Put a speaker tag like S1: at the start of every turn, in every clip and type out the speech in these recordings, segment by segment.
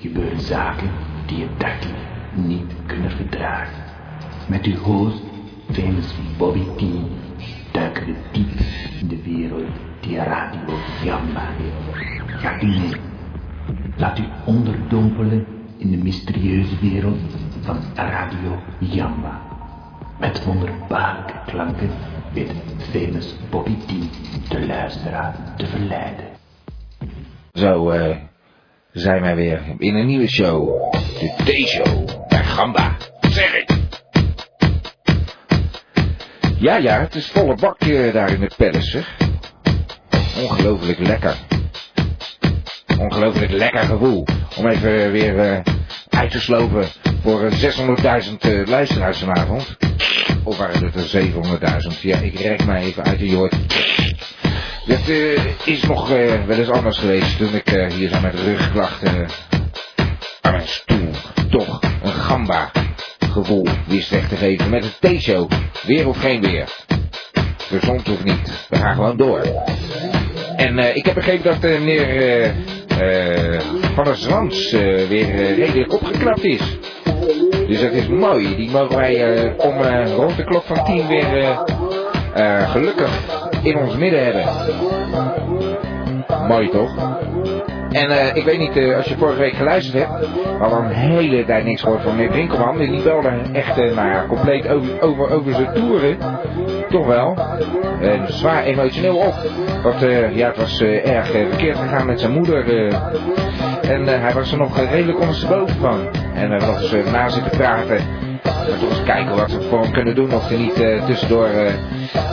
S1: gebeuren zaken die je dagelijks niet kunnen verdragen. Met uw host, famous Bobby T, duiken we diep in de wereld die Radio Jamba heeft. Gaat u mee. Laat u onderdompelen in de mysterieuze wereld van Radio Jamba. Met wonderbaarlijke klanken weet famous Bobby T de luisteraar te verleiden.
S2: Zo eh, zijn wij weer in een nieuwe show. De T-show bij Gamba. Zeg ik. Ja, ja, het is volle bak eh, daar in het palace, zeg. Ongelooflijk lekker. Ongelooflijk lekker gevoel. Om even eh, weer eh, uit te slopen voor eh, 600.000 eh, luisteraars vanavond. Of waren het er 700.000? Ja, ik rek mij even uit de jord. Dat eh, is nog eh, wel eens anders geweest toen ik eh, hier zo met rugklachten aan mijn stoel toch een gamba gevoel wist weg te geven met een T-show. Weer of geen weer. Gezond of niet. We gaan gewoon door. En eh, ik heb begrepen dat eh, meneer eh, eh, Van der Zwans eh, weer eh, redelijk opgeknapt is. Dus dat is mooi. Die mogen wij eh, om eh, rond de klok van 10 weer eh, eh, gelukkig in ons midden hebben. Mooi toch? En eh, ik weet niet eh, als je vorige week geluisterd hebt, maar al een hele tijd niks gehoord van meneer Winkelman. Die belde echt eh, nou ja, compleet over, over, over zijn toeren. Toch wel. En zwaar emotioneel op. Want eh, ja, het was eh, erg eh, verkeerd gegaan met zijn moeder. eh. en eh, hij was er nog eh, redelijk ondersteboven van. En we hebben nog eens eh, na zitten praten. Maar toch eens kijken wat we voor hem kunnen doen. Of er niet eh, tussendoor, eh,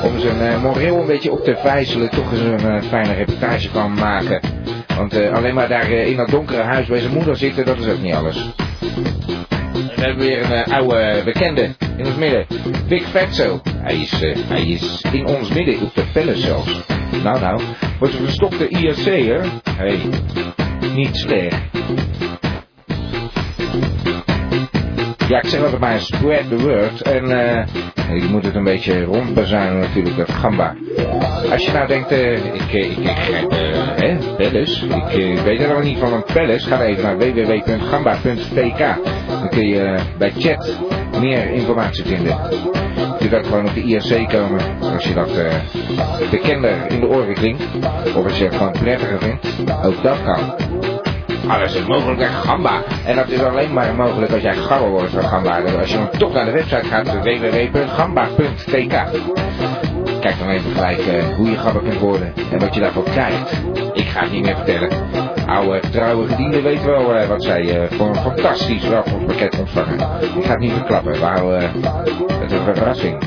S2: om zijn eh, moreel een beetje op te vijzelen, toch eens een eh, fijne reportage van maken. Want eh, alleen maar daar eh, in dat donkere huis bij zijn moeder zitten, dat is ook niet alles. En We hebben weer een eh, oude bekende in ons midden. Big Fatso. Hij is, eh, hij is in ons midden, op de palace zelfs. Nou nou, wordt een verstopte IRC, hè? hey, niet slecht. Ja, ik zeg altijd maar spread the word. En eh, je moet het een beetje rondbezuinen natuurlijk, dat gamba. Als je nou denkt, eh, ik, eh, ik, ik grijp, eh, hè, Palace. Ik eh, weet er nog niet van een Palace. Ga dan even naar www.gamba.pk. Dan kun je eh, bij chat meer informatie vinden. Je kunt ook gewoon op de IRC komen. Als je dat eh, bekender in de oren klinkt. Of als je het gewoon prettiger vindt. Ook dat kan. Alles is mogelijk bij Gamba. En dat is alleen maar mogelijk als jij garrel wordt van Gamba. Dus als je dan toch naar de website gaat, www.gamba.tk. Kijk dan even gelijk eh, hoe je gabber kunt worden en wat je daarvoor krijgt. Ik ga het niet meer vertellen. Oude trouwe gediende weet wel eh, wat zij eh, voor een fantastisch welkomstpakket ontvangen. Ik ga het niet verklappen, we houden eh, het is een verrassing.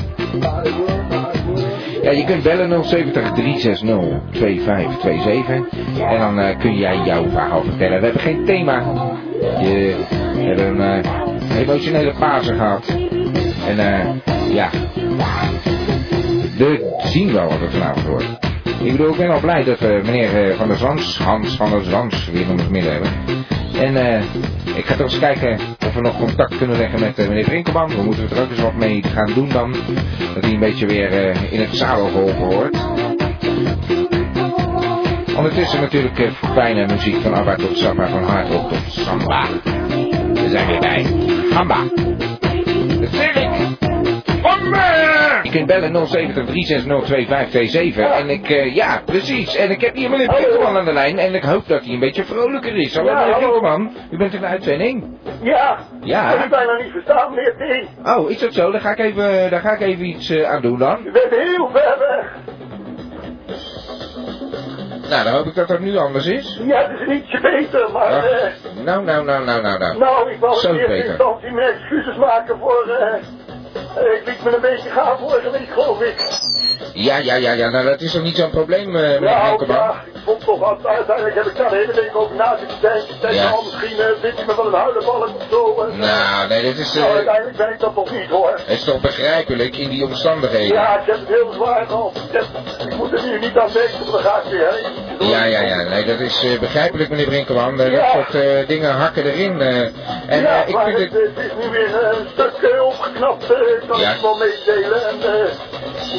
S2: Ja, je kunt bellen 070 360 2527 en dan eh, kun jij jouw verhaal vertellen. We hebben geen thema. Je, we hebben een eh, emotionele fase gehad. En eh, ja, we zien wel wat het vanavond wordt. Ik bedoel, ik ben al blij dat we meneer eh, Van der Zans, Hans van der Zans, weer in het midden hebben. En eh, ik ga toch eens kijken of we nog contact kunnen leggen met eh, meneer Brinkelman. We moeten er ook eens wat mee gaan doen dan. Dat hij een beetje weer eh, in het zadel geholpen wordt. Ondertussen natuurlijk eh, fijne muziek van Abba tot Samba, van Hardrock tot Samba. We zijn weer bij Gamba. Dat zeg ik! Je kunt bellen 070 360 2527. En ik, eh, ja, precies. En ik heb hier meneer Pinkelman aan de lijn. En ik hoop dat hij een beetje vrolijker is. Hallo
S3: Ja,
S2: meneer
S3: hallo.
S2: Pinkelman, u bent in de uitzending.
S3: Ja.
S2: Ja.
S3: Ik kan u bijna niet verstaan, meneer T.
S2: Oh, is dat zo? Daar ga ik even, daar ga ik even iets eh, aan doen dan.
S3: U bent heel ver weg.
S2: Nou, dan hoop ik dat dat nu anders is.
S3: Ja, het is een ietsje beter, maar...
S2: Ah,
S3: eh,
S2: nou, nou, nou, nou, nou, nou.
S3: nou, ik wou
S2: Zo,
S3: in eerste
S2: Peter.
S3: instantie mijn excuses maken voor... eh, eh, ik liet me een beetje gaan vorige week, geloof ik.
S2: Ja, ja, ja, ja. Nou, dat is toch niet zo'n probleem, eh, meneer
S3: Nou,
S2: Pinkelman.
S3: ja, ik vond toch wat. Uiteindelijk heb ik daar de hele week over na zitten denken. Ik denk,
S2: Ja.
S3: nou, misschien eh, vind je me wel een huilenballen of zo. eh.
S2: Nou, nee, dat is, eh,
S3: Nou, uiteindelijk ben ik dat nog niet, hoor.
S2: het is toch begrijpelijk in die omstandigheden.
S3: Ja, ik heb het heel zwaar gehad. Ik, heb- ik moet er nu niet aan denken, want dan ga ik weer heen.
S2: Ja, ja, ja. Nee, dat is eh, begrijpelijk, meneer Brinkelman. Eh, Dat
S3: Ja.
S2: soort eh, dingen hakken erin. eh. en
S3: ja,
S2: eh, ik
S3: maar
S2: vind
S3: het,
S2: het...
S3: het is nu weer eh, een stuk eh, opgeknapt, eh, kan
S2: Ja.
S3: ik wel meedelen. En, eh,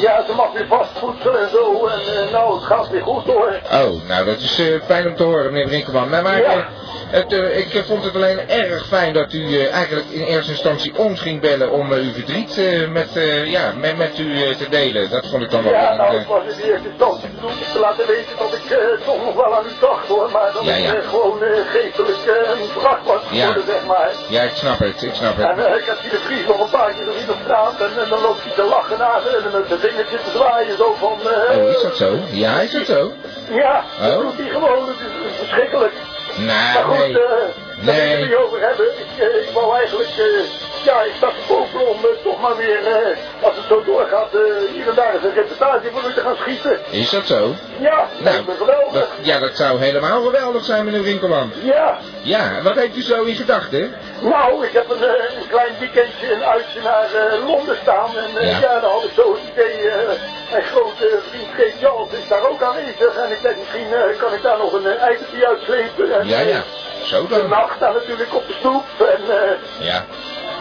S3: Ja, ze mag weer vastvoedselen en zo. En eh, nou, het gaat weer goed hoor.
S2: Oh, nou dat is eh, fijn om te horen, meneer Brinkman. Maar, maar
S3: Ja.
S2: eh, het, eh, ik eh, vond het alleen erg fijn dat u eh, eigenlijk in eerste instantie ons ging bellen om eh, uw verdriet eh, met, eh, ja, met, met u eh, te delen. Dat vond ik dan wel
S3: Ja,
S2: fijn.
S3: nou,
S2: eh.
S3: het was in de eerste instantie bedoeld om te laten weten dat ik eh, toch nog wel aan u dacht hoor. Maar dat
S2: Ja,
S3: ik
S2: ja.
S3: eh, gewoon eh, geestelijk eh, een wrak was
S2: Ja.
S3: geworden, zeg maar.
S2: Ja, ik snap het, ik snap
S3: En
S2: het.
S3: eh, ik had die de Vries nog een paar keer gezien op straat en, en dan loopt hij te lachen naar ze en met zijn vingertje te zwaaien zo van... eh,
S2: Oh, is dat zo? Ja, is dat zo?
S3: Ja, dat
S2: Oh.
S3: doet hij gewoon, het is, het is verschrikkelijk. maar
S2: Nou,
S3: goed,
S2: nee.
S3: eh,
S2: Nee.
S3: daar wil ik het niet over hebben. Ik, eh, ik wou eigenlijk, eh, ja, ik sta te popelen om eh, toch maar weer, eh, als het zo doorgaat, eh, hier en daar eens een reportage voor u te gaan schieten.
S2: Is dat zo?
S3: Ja, dat
S2: Nou,
S3: lijkt me geweldig.
S2: dat, ja, dat zou helemaal geweldig zijn, meneer Winkelman.
S3: Ja,
S2: Ja, wat heeft u zo in gedachten?
S3: nou, ik heb een, eh, een klein weekendje een uitje naar eh, Londen staan. En eh,
S2: Ja.
S3: ja. dan had ik zo het idee, eh, mijn grote vriend Geert Jans is daar ook aanwezig. En ik denk, misschien eh, kan ik daar nog een eh, eikertje uitslepen. En,
S2: Ja,
S3: eh,
S2: ja. Zo
S3: De
S2: dan.
S3: nacht staat natuurlijk op de stoep. En eh,
S2: Ja.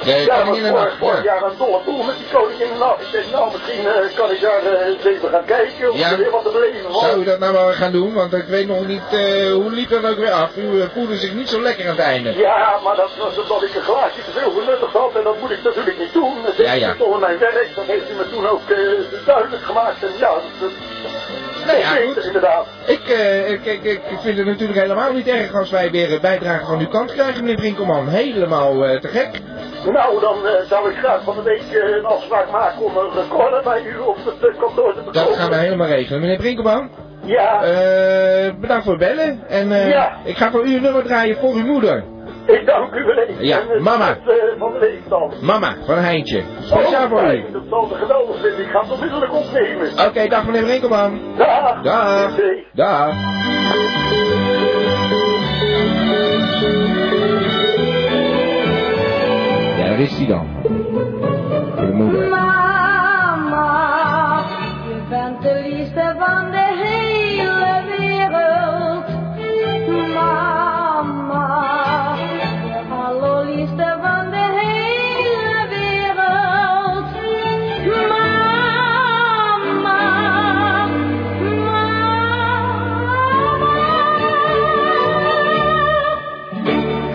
S2: De
S3: ja, was
S2: koningin in de
S3: vorig, vorig
S2: nacht. Ja.
S3: jaar een dolle boel met die koningin in de nacht. Ik denk, nou, misschien eh, kan ik daar eh, eens even gaan kijken of
S2: Ja.
S3: er weer wat te beleven valt.
S2: Zou u dat nou maar gaan doen? Want ik weet nog niet, eh, hoe liep dat ook weer af? U eh, voelde zich niet zo lekker aan het einde.
S3: Ja, maar dat was omdat ik een glaasje te veel genuttigd had en dat moet ik natuurlijk niet doen. Dat
S2: Ja,
S3: heeft
S2: ja.
S3: hij toch in mijn werk, dat heeft hij me toen ook eh, duidelijk gemaakt. En ja, dat, dat
S2: Nou ja,
S3: dat beter,
S2: goed.
S3: inderdaad.
S2: Ik, eh, ik, ik, ik vind het natuurlijk helemaal niet erg als wij weer een bijdrage van uw kant krijgen, meneer Winkelman. Helemaal eh, te gek.
S3: Nou, dan eh, zou ik graag van de week eh, een afspraak maken om een recorder bij u op het eh, kantoor te bekomen.
S2: Dat gaan we helemaal regelen. Meneer Brinkelman,
S3: Ja,
S2: eh, bedankt voor het bellen. En eh,
S3: Ja.
S2: ik ga voor u een nummer draaien voor uw moeder.
S3: ik dank u wel eens.
S2: Ja,
S3: En, eh,
S2: mama.
S3: tot, eh, van de week dan.
S2: Mama, van Heintje. Speciaal
S3: Oh,
S2: voor u.
S3: kijk, Dat zal te geweldig zijn. Ik ga het onmiddellijk opnemen.
S2: Oké, dag meneer Brinkelman.
S3: Dag.
S2: Dag.
S3: Oh. Oké.
S2: Dag. Ja, daar is hij dan. Voor de moeder.
S4: Mama, je bent de liefste van de hele wereld. Mama, de allerliefste van de hele wereld. Mama, mama.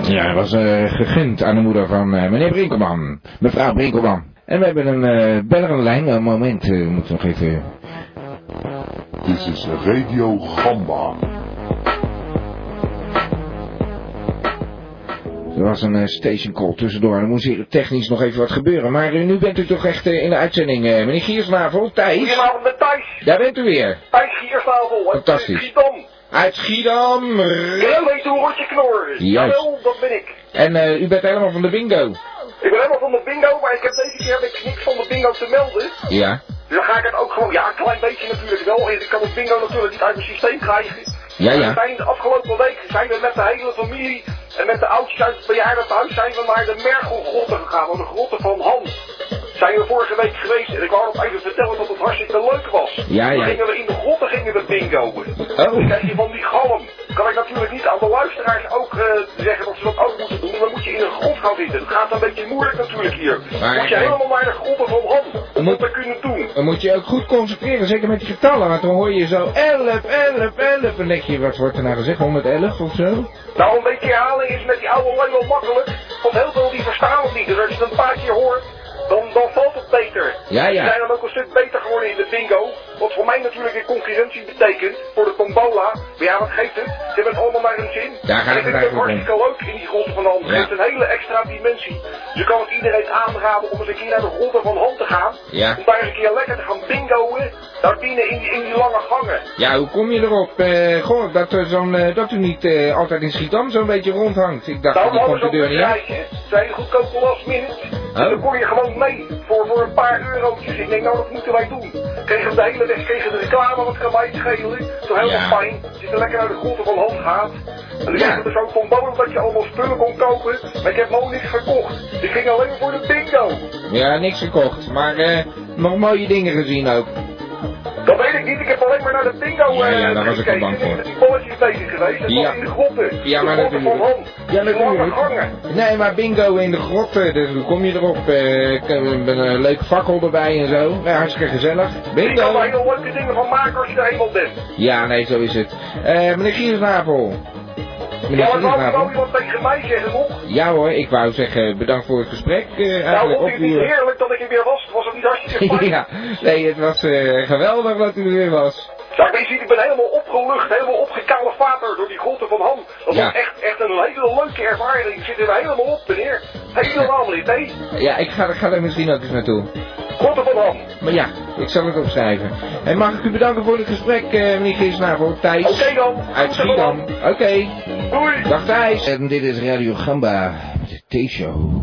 S2: Ja, hij was eh, gegund aan de moeder van eh, meneer Brinkelman. Mevrouw Brinkelman. En we hebben een eh beller aan de lijn. Een moment, eh, we moeten nog even...
S5: Dit is Radio Gamba.
S2: Er was een eh, station call tussendoor. Er moest hier technisch nog even wat gebeuren. Maar eh, nu bent u toch echt eh, in de uitzending. eh, meneer Giersnavel, Thijs.
S3: Goedenavond met Thijs.
S2: Daar bent u weer.
S3: Thijs Gierstavel.
S2: Fantastisch.
S3: Gietdam.
S2: Uit Schiedam.
S3: Ik weet hoe hard je knor is.
S2: Juist.
S3: Wel, dat ben ik.
S2: En eh, u bent helemaal van de bingo.
S3: Ik ben helemaal van de bingo, maar ik heb deze keer heb ik niks van de bingo te melden.
S2: Ja.
S3: Dus dan ga ik het ook gewoon, ja, een klein beetje natuurlijk wel. Ik kan het bingo natuurlijk niet uit mijn systeem krijgen.
S2: Ja,
S3: We
S2: ja.
S3: zijn de afgelopen week zijn we met de hele familie en met de oudjes uit het bejaardentehuis zijn we naar de Mergelgrotten gegaan, naar de grotten van Han. Zijn we vorige week geweest en ik wou nog even vertellen dat het hartstikke leuk was.
S2: Ja, ja.
S3: Toen Gingen we in de grotten gingen we bingoen. Dan
S2: Oh.
S3: krijg je van die galm. Kan ik natuurlijk niet aan de luisteraars ook eh, zeggen dat ze dat ook moeten doen. Dan moet je in een grot gaan zitten. Het gaat een beetje moeilijk natuurlijk hier.
S2: Maar-
S3: moet je helemaal naar de grotten van Han om
S2: Moet-
S3: dat te kunnen doen.
S2: Dan moet je ook goed concentreren, zeker met die getallen, want dan hoor je zo 11, 11, 11. En denk je, wat wordt er nou gezegd, 111 of zo?
S3: Nou, een beetje herhaling is met die oude lui wel makkelijk. Want heel veel die verstaan het niet. Dus als je het een paar keer hoort, dan, dan valt het beter.
S2: Ja, ja.
S3: Ze zijn dan ook een stuk beter geworden in de bingo. Wat voor mij natuurlijk een concurrentie betekent voor de tombola. Maar ja, wat geeft het? Ze hebben het allemaal naar hun zin.
S2: Daar gaat
S3: En ik
S2: het
S3: vind het ook
S2: eigenlijk om.
S3: hartstikke leuk in die grotten van hand. Het
S2: Ja.
S3: geeft een hele extra dimensie. Dus ik kan het iedereen aanraden om eens een keer naar de grotten van hand te gaan.
S2: Ja.
S3: Om daar eens een keer lekker te gaan bingoen. Daar binnen in die, in die lange gangen.
S2: Ja, hoe kom je erop? eh goh, dat, er zo'n, eh, dat u niet eh, altijd in Schiedam zo'n beetje rondhangt. Ik dacht,
S3: Nou,
S2: die
S3: we
S2: komt
S3: hadden
S2: de
S3: zo'n
S2: deur niet uit.
S3: bedrijfje. Zijn goedkope last minute. En dan kon je gewoon mee voor, voor een paar eurotjes. Ik denk, nou, dat moeten wij doen. Kregen we de hele weg, kregen de reclame, wat kan mij het schelen? Toch helemaal
S2: Ja.
S3: fijn. Zit er lekker uit de grotten van hand gaat. En dan
S2: Ja.
S3: ja. er zo'n tombola dat je allemaal spullen kon kopen. Maar ik heb nog niks verkocht. Ik ging alleen maar voor de bingo.
S2: Ja, niks gekocht. Maar eh, nog mooie dingen gezien ook.
S3: Dat weet ik niet, ik heb alleen maar naar de bingo
S2: Ja,
S3: eh,
S2: ja, daar was ik
S3: gekeken.
S2: al bang voor.
S3: Ik ben met die bolletjes bezig geweest, dat
S2: Ja.
S3: was in de grotten.
S2: Ja, maar
S3: de grotten van
S2: natuurlijk.
S3: Han.
S2: Ja,
S3: Die lange gangen.
S2: natuurlijk. Nee, maar bingo in de grot, eh, dus hoe kom je erop? Eh, Ik heb een, een leuk fakkel erbij en zo. Ja, hartstikke gezellig.
S3: Ik kan
S2: Bingo!
S3: daar heel leuke dingen van maken als je er eenmaal bent.
S2: Ja, nee, zo is het. Eh, meneer Gierensnapel. Meneer
S3: Ja, maar wou wou
S2: Gierensnapel.
S3: iemand tegen mij zeggen Nou, nog?
S2: Ja hoor, ik wou zeggen bedankt voor het gesprek. eh,
S3: Nou,
S2: eigenlijk
S3: vond
S2: op
S3: u het niet
S2: uw...
S3: heerlijk dat ik er weer was? Was het niet hartstikke fijn?
S2: ja, nee, het was eh, geweldig dat u er weer was.
S3: Ja, ik, weet niet, ik ben helemaal opgelucht, helemaal opgekalefaterd door die grotten van Han. Dat
S2: Ja.
S3: was echt, echt een hele leuke ervaring. Ik zit er helemaal op, meneer. Helemaal niet, hè?
S2: Ja, ik ga, ik ga er misschien ook eens naartoe.
S3: Grotten van Han.
S2: Maar ja, ik zal het opschrijven. En mag ik u bedanken voor het gesprek, eh, meneer Giersnavel? Thijs.
S3: Oké dan.
S2: Uit Schiedam. Oké.
S3: Doei.
S2: Dag Thijs. En dit is Radio Gamba, de T-show.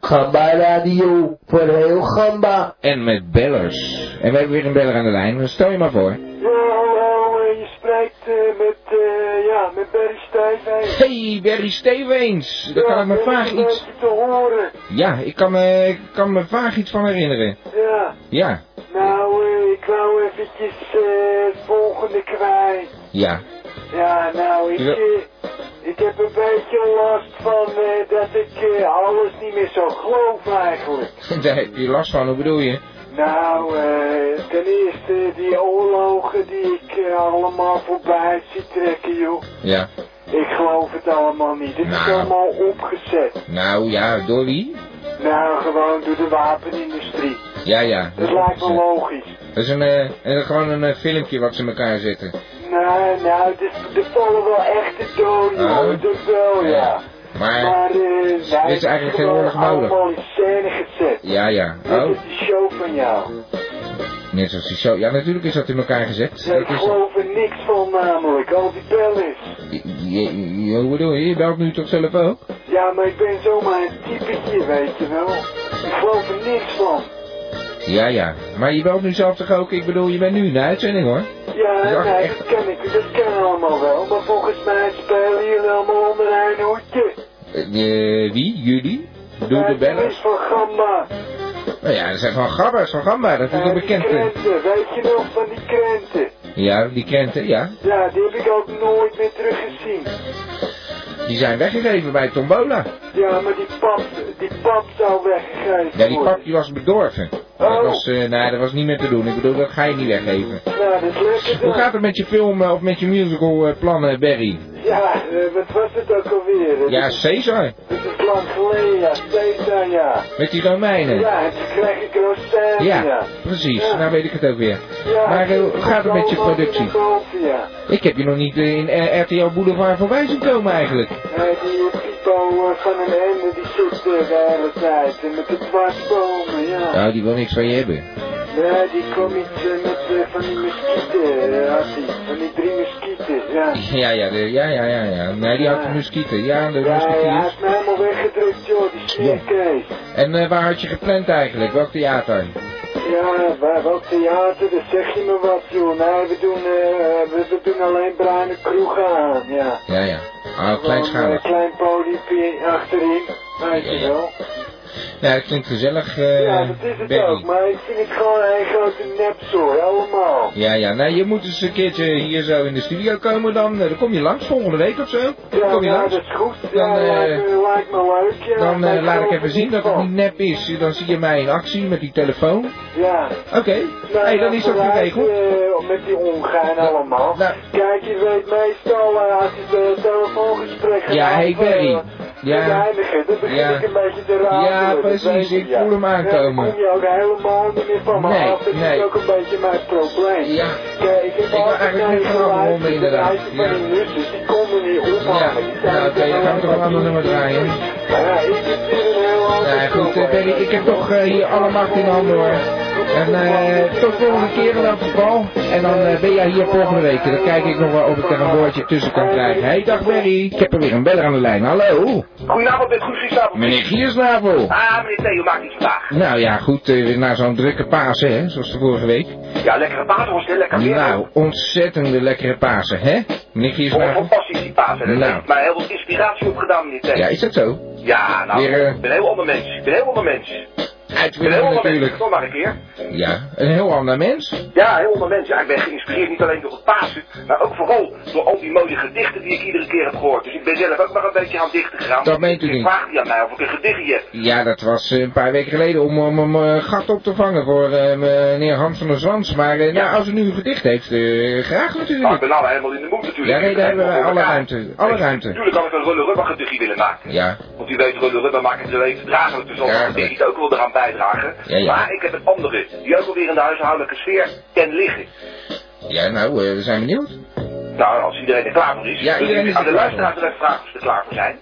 S6: Gamba Radio voor heel Gamba.
S2: En met bellers. En we hebben weer een beller aan de lijn. Stel je maar voor.
S7: je spreekt eh, met, eh, ja, met Barry Stijfijn.
S2: Hey, Barry Stevens. Daar kan ik me vaag iets...
S7: te horen.
S2: Ja, ik kan me, ik kan me vaag iets van herinneren.
S7: Ja,
S2: Ja,
S7: nou, eh, ik wou eventjes eh, het volgende kwijt.
S2: ja.
S7: Ja, nou, ik,
S2: Ja.
S7: eh, ik heb een beetje last van eh, dat ik eh, alles niet meer zo geloof eigenlijk.
S2: Daar heb je last van, hoe bedoel je?
S7: Nou, eh, ten eerste die oorlogen die ik eh, allemaal voorbij zie trekken, joh.
S2: Ja.
S7: Ik geloof het allemaal niet. Het is
S2: Nou.
S7: allemaal opgezet.
S2: Nou ja, Dolly.
S7: Nou, gewoon door de wapenindustrie.
S2: Ja, ja.
S7: Dat lijkt me logisch.
S2: Dat is een, eh, eh, gewoon een eh, filmpje wat ze in elkaar zetten.
S7: Nou, nou, dus, er vallen wel echte doden, hoor.
S2: Oh.
S7: Dat wel, ja.
S2: Maar,
S7: Maar, eh, nou,
S2: is eigenlijk heel erg nodig.
S7: allemaal in scène gezet.
S2: ja, ja.
S7: Dat
S2: Oh,
S7: is de show van jou.
S2: net zoals die zo. Ja, natuurlijk is dat in elkaar gezet.
S7: Ja, ik
S2: Dat is,
S7: geloof er niks van namelijk, al die bellers.
S2: Je- je- je- hoe bedoel je? Je belt nu toch zelf ook?
S7: Ja, maar ik ben zomaar een typetje, weet je wel. Ik geloof er niks van.
S2: Ja, ja. Maar je belt nu zelf toch ook? Ik bedoel, je bent nu in de uitzending hoor.
S7: Ja,
S2: Ja,
S7: nee,
S2: echt.
S7: dat ken ik, dat ken ik allemaal wel. Maar volgens mij spelen jullie allemaal onder een hoedje.
S2: Eh, eh, wie? Jullie? Doe de
S7: bellers
S2: bellers?
S7: van Gamba.
S2: Nou ja, dat zijn gewoon gabbers van Gamba. Dat is
S7: Ja,
S2: een
S7: die
S2: bekend. eh.
S7: krenten, weet je nog van die krenten?
S2: Ja, die krenten, ja.
S7: Ja, die heb ik ook nooit meer teruggezien.
S2: Die zijn weggegeven bij Tombola.
S7: Ja, maar die pap, die pap zou weggegeven
S2: Ja, die
S7: worden.
S2: pap die was bedorven. Dat
S7: Oh.
S2: was, eh, nee, dat was niet meer te doen. Ik bedoel, dat ga je niet weggeven.
S7: Nou, dat is lekker
S2: Hoe
S7: dan.
S2: gaat het met je film eh, of met je musical eh, plannen, Barry?
S7: Ja, eh, wat was het ook alweer? Dat
S2: Ja,
S7: is-
S2: Caesar.
S7: Dat is lang geleden, ja. Cesar, ja.
S2: Met die Romeinen.
S7: Ja, en toen kreeg ik Rosanna.
S2: Ja, precies.
S7: Ja.
S2: Nou weet ik het ook weer.
S7: Ja,
S2: Maar eh, hoe
S7: dat
S2: gaat het met je
S7: kwam allemaal
S2: productie?
S7: naar boven, ja.
S2: Ik heb je nog niet eh, in eh, RTL Boulevard voorbij zien komen eigenlijk.
S7: Nee, die eh, Pipo eh, van een ende, die zit er de hele tijd. En met de dwarsbomen, ja.
S2: Nou, die wil niks van je hebben.
S7: Ja, die kwam iets eh, met eh, van die muskieten, eh, had hij. Van die drie muskieten, ja.
S2: Ja, ja, de- ja, ja, ja, ja. Nee, die had de muskieten. Ja, de
S7: Ja, hij
S2: musketiers.
S7: heeft me helemaal weggedrukt, joh, die smeerkees.
S2: En eh, waar had je gepland eigenlijk? Welk theater?
S7: Ja, waar, wat theater, dat zeg je me wat, joh. Nee, we doen, eh, we, we doen alleen bruine kroegen aan, ja.
S2: Ja, ja. Ah,
S7: Gewoon, eh,
S2: kleinschalig.
S7: klein podiumpje achterin, weet
S2: Ja,
S7: je
S2: ja.
S7: wel.
S2: Ja, dat klinkt gezellig, eh,
S7: Ja, dat is het ook,
S2: Barry.
S7: maar ik vind het gewoon een grote nepzooi, allemaal.
S2: Ja, ja. Nou, je moet eens een keertje hier zo in de studio komen dan. Eh, Dan kom je langs volgende week of zo. Dan
S7: Ja,
S2: kom je
S7: nou,
S2: langs.
S7: dat is goed.
S2: Dan,
S7: ja,
S2: eh,
S7: lijkt, me, lijkt me leuk. Ja,
S2: Dan
S7: maar
S2: eh, laat ik
S7: geloof
S2: even
S7: er
S2: zien dat het
S7: van.
S2: niet nep is. Dan zie je mij in actie met die telefoon.
S7: Ja.
S2: Oké. hey, dan is dat weer
S7: vooruit,
S2: regel.
S7: eh, met die ongein allemaal.
S2: nou.
S7: Kijk, je weet meestal eh, als het eh, telefoongesprek
S2: Ja,
S7: gaat,
S2: hey,
S7: eh,
S2: Barry.
S7: te
S2: Ja.
S7: Eindigen, dan begin
S2: Ja.
S7: ik een beetje te raden.
S2: Ja, precies, ik voel hem aankomen.
S7: daar kom je ook helemaal niet meer van me
S2: Nee,
S7: af. Dat
S2: nee.
S7: is ook een beetje mijn probleem.
S2: Ja.
S7: Kijk, ik heb
S2: ben
S7: altijd
S2: eigenlijk
S7: naar
S2: net
S7: je
S2: gaan afronden,
S7: geluisterd,
S2: inderdaad.
S7: De lijstje
S2: Ja.
S7: van die nussen, die konden niet
S2: Ja.
S7: ophangen. Die zijn
S2: Nou, oké,
S7: er
S2: dan gaan we toch een ander nummer draaien.
S7: Maar ja, ik zit hier een heel ander
S2: Nou goed, eh,
S7: probleem.
S2: Barry, ik heb toch eh, hier alle macht in handen hoor. En eh tot volgende keer in elk geval. En dan eh, ben jij hier volgende week. En dan kijk ik nog wel of ik daar een woordje tussen kan krijgen. Hey, dag Barry. Ik heb er weer een beller aan de lijn. Hallo.
S3: Goedenavond, dit goed gisteravond.
S2: Meneer Giersnavel.
S3: Ah, meneer Theo, maakt iets vandaag.
S2: Nou ja, goed, eh, na zo'n drukke Pasen, hè, zoals de vorige week.
S3: Ja, lekkere paas was dit, lekker weer.
S2: Nou, ontzettende lekkere Pasen, hè? Meneer
S3: Oh,
S2: Giersnavel.
S3: fantastisch die paas. En
S2: Nou.
S3: dat heeft mij heel veel inspiratie opgedaan, meneer Theo.
S2: Ja, is dat zo?
S3: Ja, nou,
S2: Weer, eh,
S3: ik ben een heel ander mens. Ik ben een heel ander mens.
S2: uit
S3: Een heel
S2: willen
S3: ander mens,
S2: natuurlijk.
S3: kom maar een keer.
S2: Ja, een heel ander mens.
S3: Ja, heel ander mens. Ja, ik ben geïnspireerd niet alleen door het Pasen, maar ook vooral door al die mooie gedichten die ik iedere keer heb gehoord. Dus ik ben zelf ook maar een beetje aan het dichten gegaan.
S2: Dat meent u
S3: Ik
S2: niet.
S3: vraag die aan mij of ik een gedichtje heb.
S2: Ja, dat was eh, een paar weken geleden om, om, om eh, gat op te vangen voor eh, meneer Hans van der Zwans. Maar eh, nou, als u nu een gedicht heeft, eh, graag
S3: Maar ik
S2: natuurlijk.
S3: ben nou helemaal in de moed natuurlijk.
S2: Ja, nee, daar hebben we alle ruimte. Alle ruimte.
S3: Natuurlijk kan ik een rulle rubber gedichtje willen maken.
S2: Ja,
S3: Want u weet, rulle rubber maken ze weten draaglijk, dus zal
S2: Ja,
S3: dat
S2: dat-
S3: gedichtje ook wel eraan bijdragen.
S2: Ja, ja.
S3: Maar ik heb een andere, die ook alweer in de huishoudelijke sfeer ten liggen.
S2: ja nou, eh, we zijn benieuwd.
S3: Nou, als iedereen er klaar voor is,
S2: Ja,
S3: dan
S2: iedereen
S3: ik
S2: is
S3: aan
S2: er
S3: de
S2: klaar
S3: luisteraar willen vragen of ze er klaar voor zijn.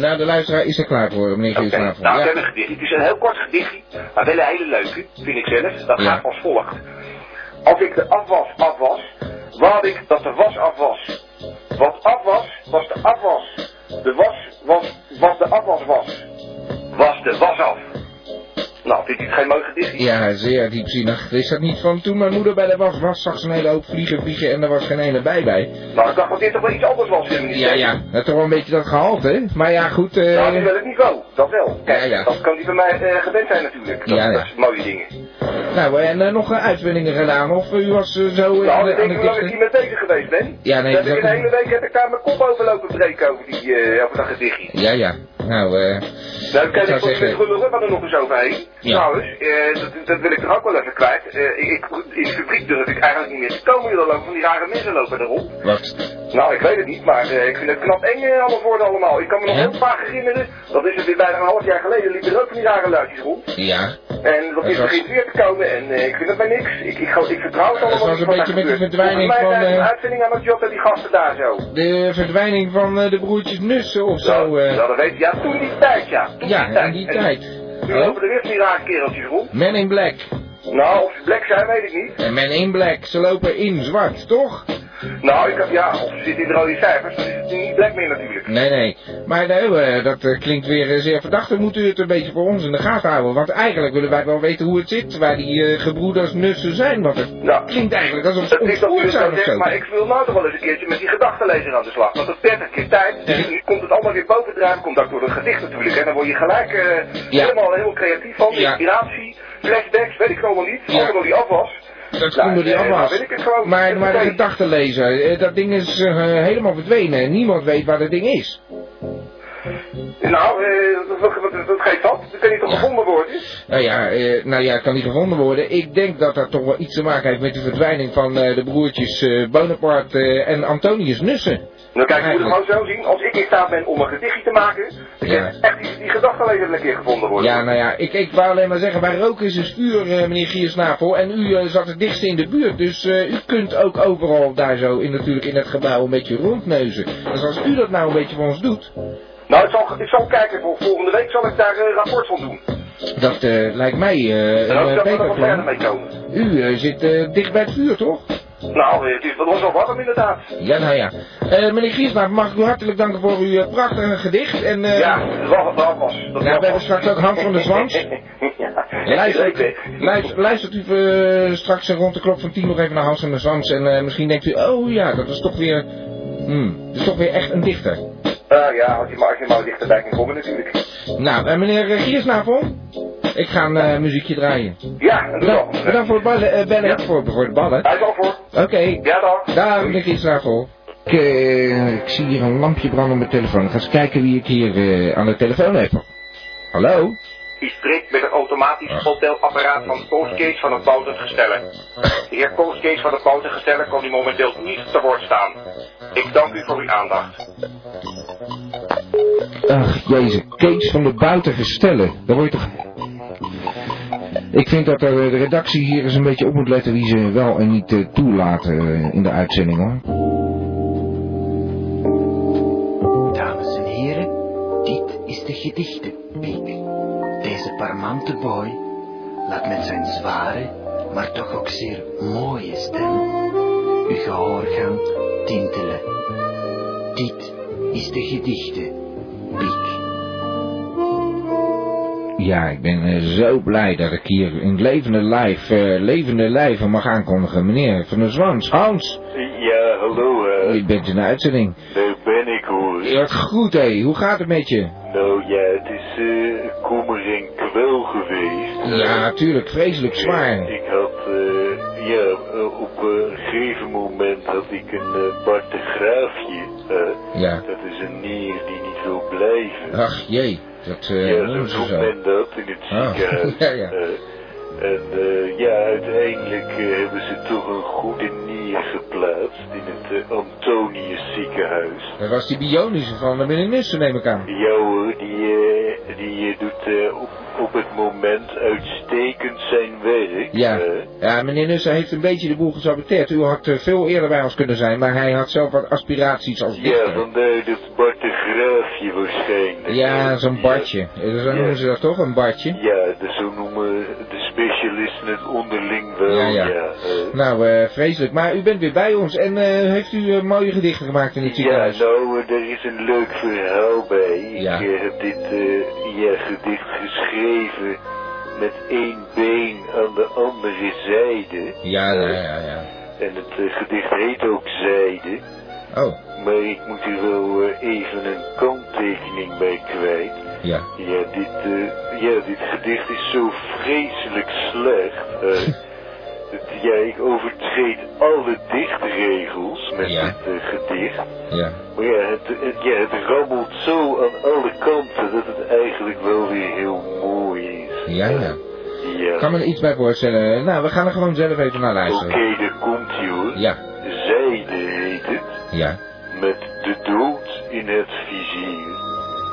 S2: Nou, de luisteraar is er klaar voor, meneer
S3: Oké,
S2: Giersnavel.
S3: nou, we
S2: Ja.
S3: hebben een gedicht. Het is een heel kort gedichtje, maar wel een hele leuke, vind ik zelf. Dat
S2: Ja.
S3: gaat als volgt. Als ik de afwas afwas, wou ik dat de was afwas. Wat afwas, was de afwas. De was was wat de afwas was. Was de was af. Nou, vindt u het geen mooi gedichtje?
S2: Ja, zeer diepzinnig. Is dat niet van toen mijn moeder bij de was was, zag ze een hele hoop vliegen vliegen en er was geen ene bij bij.
S3: Nou, ik dacht dat dit toch wel iets anders was. in
S2: Ja, ja, dat is toch wel een beetje dat gehalte, hè? Maar ja, goed, eh,
S3: Nou, dat is wel het niveau, dat wel. Kijk,
S2: Ja, ja.
S3: dat kan die bij mij eh, gewend zijn natuurlijk. Dat,
S2: Ja, ja.
S3: dat is mooie dingen.
S2: nou, en eh, nog eh, uitvindingen gedaan, of u was eh, zo eh, aan
S3: Nou,
S2: de,
S3: ik
S2: aan
S3: denk
S2: de
S3: hoe lang ik
S2: dichter?
S3: hier mee bezig geweest ben.
S2: Ja, nee,
S3: dat
S2: dat
S3: ik
S2: is-
S3: een hele week heb ik daar mijn kop over lopen breken over, die, eh, over dat gedichtje.
S2: Ja, ja, nou, eh,
S3: Nou, kijk,
S2: zou
S3: ik vond het
S2: zeggen-
S3: gulle rubber er nog eens overheen.
S2: Ja.
S3: Trouwens, eh, dat, dat wil ik er ook wel even kwijt. Eh, ik, ik- in de fabriek durf ik eigenlijk niet meer te komen. Jullie lopen van die rare mensen lopen erop.
S2: wat?
S3: Nou, ik weet het niet, maar eh, ik vind het knap eng eh, allemaal worden allemaal. Ik kan me nog
S2: Ja?
S3: heel vaak herinneren. Dat is het weer bijna een half jaar geleden. Liep er ook van die rare luidjes rond.
S2: Ja,
S3: En dat
S2: Het
S3: is
S2: was-
S3: begint weer te komen en eh, ik vind het bij niks. Ik, ik, ik vertrouw het allemaal
S2: was een beetje
S3: wat er
S2: met die
S3: gebeurt.
S2: verdwijning
S3: Volgens mij
S2: van,
S3: zijn ze
S2: eh,
S3: een uitvinding aan het jotten die gasten daar zo.
S2: de verdwijning van eh, de broertjes Nussen of zo. eh.
S3: ja, dat Nou, weet je. Ja, toen die tijd, ja. Toen
S2: ja, in die
S3: En
S2: tijd.
S3: Nu lopen er weer van die rare kereltjes rond.
S2: Men in black.
S3: Nou, of ze black zijn, weet ik niet.
S2: En men in black, ze lopen in zwart, toch?
S3: Nou, ik had, ja, of ze zitten in de rode cijfers, dan is het niet black meer natuurlijk.
S2: Nee, nee. Maar nou, eh, dat eh, klinkt weer eh, zeer verdacht. Dan moet u het een beetje voor ons in de gaten houden. Want eigenlijk willen wij wel weten hoe het zit, waar die eh, gebroeders nussen zijn. Want het
S3: Nou,
S2: klinkt eigenlijk alsof ze
S3: Dat is
S2: ontvoerd
S3: natuurlijk
S2: zijn
S3: zo
S2: of zo.
S3: zegt, maar ik wil nou toch wel eens een keertje met die gedachtenlezer aan de slag. Want dat is 30 keer tijd. dus
S2: Ja.
S3: Nu komt het allemaal weer bovendrijven. Komt ook door het gedicht natuurlijk. En dan word je gelijk eh,
S2: Ja.
S3: helemaal heel creatief van.
S2: Ja.
S3: Inspiratie, flashbacks, weet ik allemaal niet.
S2: Ja.
S3: Allemaal door die afwas.
S2: Dat komt door die
S3: eh, nou
S2: afwas.
S3: weet ik het gewoon.
S2: Maar, maar de
S3: Meteen.
S2: gedachtenlezer, eh, dat ding is eh, helemaal verdwenen. Niemand weet waar dat ding is.
S3: Nou, eh, dat, dat, dat, dat geeft dat. Dat kan niet toch
S2: Ja.
S3: gevonden worden?
S2: Nou ja, eh, nou ja, het kan niet gevonden worden. Ik denk dat dat toch wel iets te maken heeft met de verdwijning van eh, de broertjes eh, Bonaparte eh, en Antonius Nussen.
S3: Nou kijk, je moet het
S2: Eigenlijk.
S3: gewoon zo zien. Als ik in staat ben om een gedichtje te maken, dan
S2: Ja.
S3: kan echt die, die gedachtenlezer een keer gevonden worden.
S2: Ja, nou ja, ik, ik wou alleen maar zeggen, bij roken is een vuur, eh, meneer Giersnavel. En u eh, zat het dichtst in de buurt, dus eh, u kunt ook overal daar zo in, natuurlijk in het gebouw een beetje rondneuzen. Dus als u dat nou een beetje voor ons doet,
S3: Nou, ik zal, ik zal kijken. Voor volgende week zal ik daar een rapport van doen.
S2: dat eh, lijkt mij eh,
S3: En
S2: een
S3: ook
S2: eh,
S3: dat we er
S2: beter
S3: nog verder
S2: plan.
S3: mee komen.
S2: U eh, zit eh, dicht bij het vuur, toch?
S3: Nou, het is wel ons al warm inderdaad.
S2: Ja, nou ja. Eh, meneer Giersnavel, mag ik u hartelijk danken voor uw eh, prachtige gedicht. En, eh,
S3: ja, dat was dat was. Dat
S2: Ja, we
S3: was.
S2: hebben straks ook Hans van der Zwans.
S3: ja,
S2: Luistert,
S3: leuk, hè?
S2: luistert, luistert u eh, straks rond de klok van 10 nog even naar Hans van der Zwans en eh, misschien denkt u, oh ja, dat is toch weer, hmm, dat is toch weer echt een dichter.
S3: Ah, ja, als je maar, als je maar dichterbij kan komen natuurlijk.
S2: Nou, eh, meneer eh, Giersnavel, ik ga een eh, muziekje draaien.
S3: Ja, en doe dat.
S2: Bedankt, bedankt voor het ballen, eh, bellen,
S3: Ja.
S2: voor, voor het ballen.
S3: Hij is al voor.
S2: Oké,
S3: Ja, dag.
S2: daar meneer Giersnavel. Ik, eh, ik zie hier een lampje branden op mijn telefoon. Ik ga eens kijken wie ik hier eh, aan de telefoon heb. Hallo?
S3: U spreekt met het automatisch hotelapparaat van Kooskees van het Boutengestellen. De heer Kooskees van het Boutengestellen kan u momenteel niet te woord staan. Ik dank u voor uw aandacht.
S2: Ach, jezus, Kees van de buitengestellen. Daar word je toch... Ik vind dat er, eh, de redactie hier eens een beetje op moet letten wie ze wel en niet eh, toelaten eh, in de uitzending hoor.
S1: Dames en heren, dit is de gedichtenpiek. Deze parmante boy laat met zijn zware, maar toch ook zeer mooie stem uw gehoor gaan tintelen. Dit is de gedichtenpiek.
S2: Ja, ik ben eh, zo blij dat ik hier in levende lijf, eh, levende lijven mag aankondigen. Meneer van der Zwans, Hans,
S8: Ja, hallo, eh.
S2: u bent in de uitzending.
S8: daar ben ik hoor.
S2: Ja, Wat goed hé, hoe gaat het met je?
S8: Nou, Oh ja, het is eh kommer en kwel geweest.
S2: Ja, natuurlijk, vreselijk zwaar.
S8: Ik had, eh, ja, eh, op een gegeven moment had ik een eh bartegraafje. Eh,
S2: Ja.
S8: Dat is een nier die niet wil blijven.
S2: Ach jee, dat eh,
S8: ja, zo
S2: noemen ze
S8: noemt
S2: zo.
S8: men dat in het
S2: Ah,
S8: ziekenhuis.
S2: ja, ja.
S8: Eh, en eh, ja, uiteindelijk eh, hebben ze toch een goede nier geplaatst in het eh, Antonius ziekenhuis.
S2: Dat was die bionische van de minister, neem ik aan.
S8: Ja hoor, die, eh, die eh, doet eh, op, op het moment uitstekend zijn werk.
S2: Ja.
S8: eh.
S2: Ja, meneer Nussen heeft een beetje de boel gesaboteerd. U had eh, veel eerder bij ons kunnen zijn, maar hij had zelf wat aspiraties als
S8: ja,
S2: dichter.
S8: vandaar dat Bart de Graafje waarschijnlijk.
S2: Ja, zo'n
S8: Ja.
S2: bartje. Eh, Zo noemen ze dat toch, een bartje?
S8: Ja, dus zo noemen de specialisten het onderling wel.
S2: Ja,
S8: Ja,
S2: ja.
S8: eh.
S2: Nou, eh, vreselijk. Maar u bent weer bij ons en eh, heeft u eh, mooie gedichten gemaakt in het
S8: Ja,
S2: ziekenhuis?
S8: nou, eh, er is een leuk verhaal bij. Ik
S2: Ja.
S8: eh, heb dit eh, ja, gedicht geschreven met één been aan de andere zijde.
S2: Ja, ja, ja, ja.
S8: En het eh, gedicht heet ook Zijde.
S2: Oh,
S8: Maar ik moet er wel eh, even een kanttekening bij kwijt.
S2: ja.
S8: Ja, dit, eh, ja, dit gedicht is zo vreselijk slecht. eh. het, ja, ik overtreed alle dichtregels met
S2: Ja.
S8: dit eh, gedicht.
S2: Ja.
S8: Maar ja het, het, ja, het rammelt zo aan alle kanten dat het eigenlijk wel weer heel mooi is.
S2: Ja, ja.
S8: Ja.
S2: Kan me er iets bij voorstellen. Nou, we gaan er gewoon zelf even naar
S8: Oké,
S2: luisteren.
S8: daar komt ie hoor.
S2: Ja,
S8: Zijde heet het.
S2: ja.
S8: Met de dood in het vizier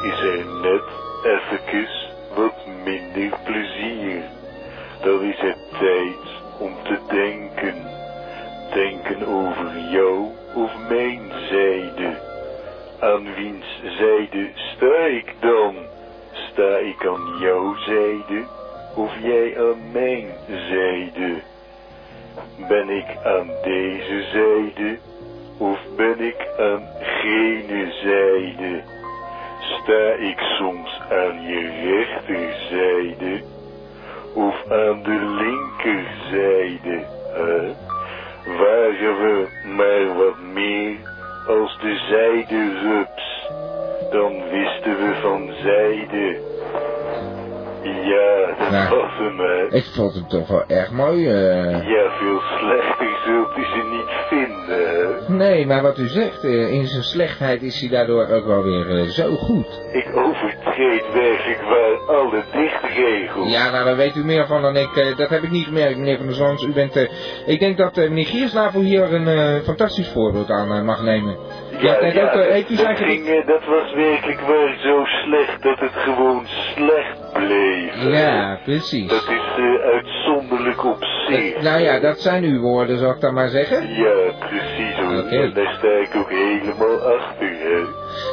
S8: is er net even wat minder plezier. Dan is het tijd om te denken. Denken over jou of mijn zijde. Aan wiens zijde sta ik dan? Sta ik aan jouw zijde of jij aan mijn zijde? Ben ik aan deze zijde of ben ik aan gene zijde? Sta ik soms aan je rechterzijde of aan de linkerzijde? Hè? Waren we maar wat meer als de zijderups, dan wisten we van zijde. Ja, dat
S2: Nou.
S8: was hem, hè.
S2: Ik vond hem toch wel erg mooi. eh.
S8: Ja, veel slechter zult u ze niet vinden. hè.
S2: Nee, maar wat u zegt, eh, in zijn slechtheid is hij daardoor ook wel weer eh, zo goed.
S8: Ik overtreed werkelijk waar alle dichtregels.
S2: Ja, nou daar weet u meer van dan ik. eh, dat heb ik niet gemerkt, meneer Van der Zwans. U bent, eh, ik denk dat eh, meneer Giersnavel hier een eh, fantastisch voorbeeld aan eh, mag nemen. Ja, kijk, ook, eh, heeft u
S8: dat,
S2: zijn
S8: ging,
S2: gedicht-
S8: eh, dat was werkelijk waar zo slecht dat het gewoon slecht bleef. hè.
S2: Ja, precies.
S8: eh, Dat is eh, uitzonderlijk op zich.
S2: Eh, nou ja, dat zijn uw woorden, zal ik dan maar zeggen.
S8: Ja, precies hoor.
S2: Oké.
S8: En daar sta ik ook helemaal achter, hè.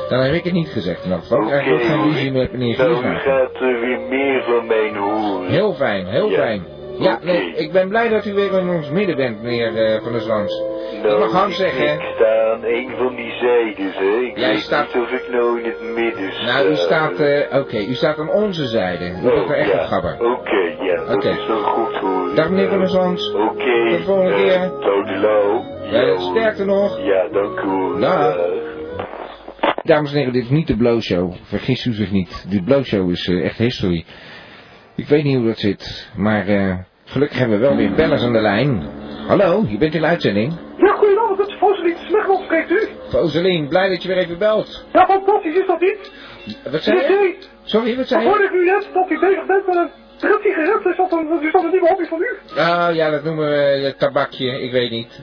S2: Dan heb ik het niet gezegd in elk geval. Ik
S8: Oké,
S2: krijg ook geen
S8: hoor.
S2: ruzie met meneer
S8: Nou, u
S2: Giersnavel.
S8: gaat eh, weer meer van mijn horen.
S2: Heel fijn, heel
S8: Ja.
S2: fijn. Ja,
S8: Oké.
S2: nee, ik ben blij dat u weer in ons midden bent, meneer eh, Van der Zwans.
S8: Nou,
S2: ik mag hard zeggen, hè.
S8: Ik sta aan een van die zijdes, hè. Ik
S2: Jij
S8: weet
S2: staat-
S8: niet of ik nou in het midden sta.
S2: Nou, u staat, eh, oké, u staat aan onze zijde. U bent
S8: Oh,
S2: wel echt
S8: ja.
S2: een gabber.
S8: Oké, ja, dat
S2: Oké.
S8: is wel goed hoor.
S2: Dag meneer Van der Zwans.
S8: Oké.
S2: Tot de volgende
S8: eh,
S2: keer.
S8: Toedelo. Ja,
S2: Eh,
S8: hoor.
S2: sterkte nog.
S8: Ja, dank u hoor.
S2: Dag. Dames en heren, dit is niet de Blow Show. Vergis u zich niet. De Blow Show is eh, echt history. Ik weet niet hoe dat zit, maar eh, gelukkig hebben we wel weer bellers aan de lijn. Hallo, je bent in de uitzending.
S3: Ja, goedenavond, het is Foseline Smegland, spreekt u?
S2: Foselien, blij dat je weer even belt.
S3: Ja, fantastisch is dat niet?
S2: Wat zei
S3: Nee,
S2: je?
S3: nee,
S2: Sorry, wat
S3: dan
S2: zei
S3: hoorde
S2: je?
S3: ik nu net dat u bezig bent met een trip sigaret, dus dat een, is dat een nieuwe hobby van u?
S2: Oh ja, dat noemen we eh, tabakje, ik weet niet.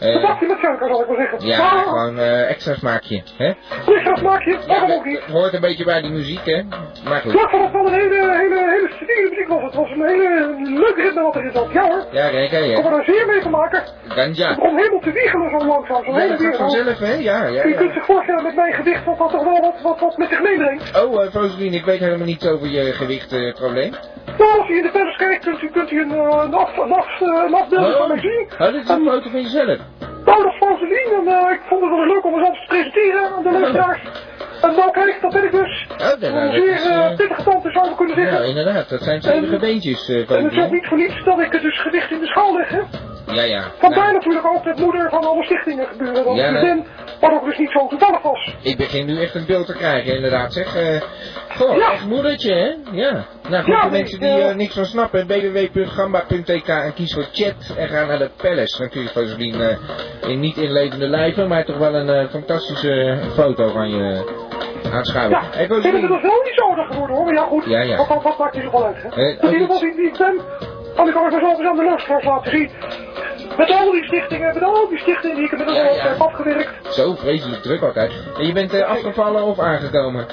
S2: Eh,
S3: Een pakje met suiker, zal ik maar zeggen.
S2: ja, gewoon eh, extra smaakje, hè?
S3: Nee, dat maak je, waarom
S2: dat
S3: ook niet?
S2: hoort een beetje bij die muziek, hè? Maar goed.
S3: Ja, van het wel een hele, hele, hele stabiele muziek was. Het was een hele leuke ritme wat erin zat. Ja hoor,
S2: Ja, kijk, hè,
S3: ik
S2: ja.
S3: kon er zeer mee te maken.
S2: Ganja.
S3: Om helemaal te wiegelen zo langzaam, zo'n
S2: Nee,
S3: hele
S2: dat gaat
S3: wereld.
S2: vanzelf, hè? Ja, ja,
S3: U kunt
S2: ja.
S3: zich voorstellen met mijn gedicht dat dat toch wel wat, wat, wat met zich meebrengt.
S2: Oh, eh Foselien, ik weet helemaal niets over je eh, gewichtprobleem.
S3: Nou, als u in de pers kijkt, kunt u, kunt u een, eh, een, af, een, af, eh, een afbeelding van mij zien.
S2: oh, dit is een foto van jezelf.
S3: Nou, dat is Foseline en eh, ik vond het wel leuk om mezelf te presenteren aan de luisteraars. En nou kijk, dat ben ik dus.
S2: dat- dat
S3: een zeer
S2: is,
S3: eh,
S2: eh,
S3: pittige tante zou ik kunnen
S2: Ja,
S3: zeggen.
S2: inderdaad, dat zijn stevige beentjes, eh
S3: en het is ook
S2: Foselien.
S3: niet voor niets dat ik het dus gewicht in de schaal leg, hè.
S2: Ja, ja.
S9: Vandaar
S2: Nou,
S9: natuurlijk ook dat moeder van alle stichtingen gebeuren. Want
S2: Ja,
S9: ik
S2: nee.
S9: ben, wat ook dus niet zo toevallig was.
S2: ik begin nu echt een beeld te krijgen, inderdaad. Zeg, eh goh,
S9: Ja.
S2: echt moedertje, hè? Ja. Nou goed,
S9: Ja,
S2: voor
S9: nee,
S2: mensen die
S9: Nou. eh,
S2: eh, niks van snappen, www.gamba.tk en kies voor chat en ga naar de Palace. Dan kun je van zien eh, in niet inlevende lijven, maar toch wel een eh, fantastische foto van je eh, aanschouwen.
S9: Ja,
S2: Hey,
S9: ik ben
S2: Rosalien.
S9: er nog wel niet zo naar geworden hoor. Maar ja goed,
S2: Ja, ja.
S9: Wat, wat, wat maakt niet zoveel uit. Hè?
S2: Eh,
S9: in ieder
S2: als
S9: geval die ik ben, kan ik ook even zo eens aan de luisteraars laten zien. Met al die stichtingen, met al die stichtingen die ik inmiddels
S2: Ja,
S9: al
S2: ja.
S9: heb afgewerkt.
S2: Zo vreselijk druk altijd. En je bent eh, afgevallen of aangekomen?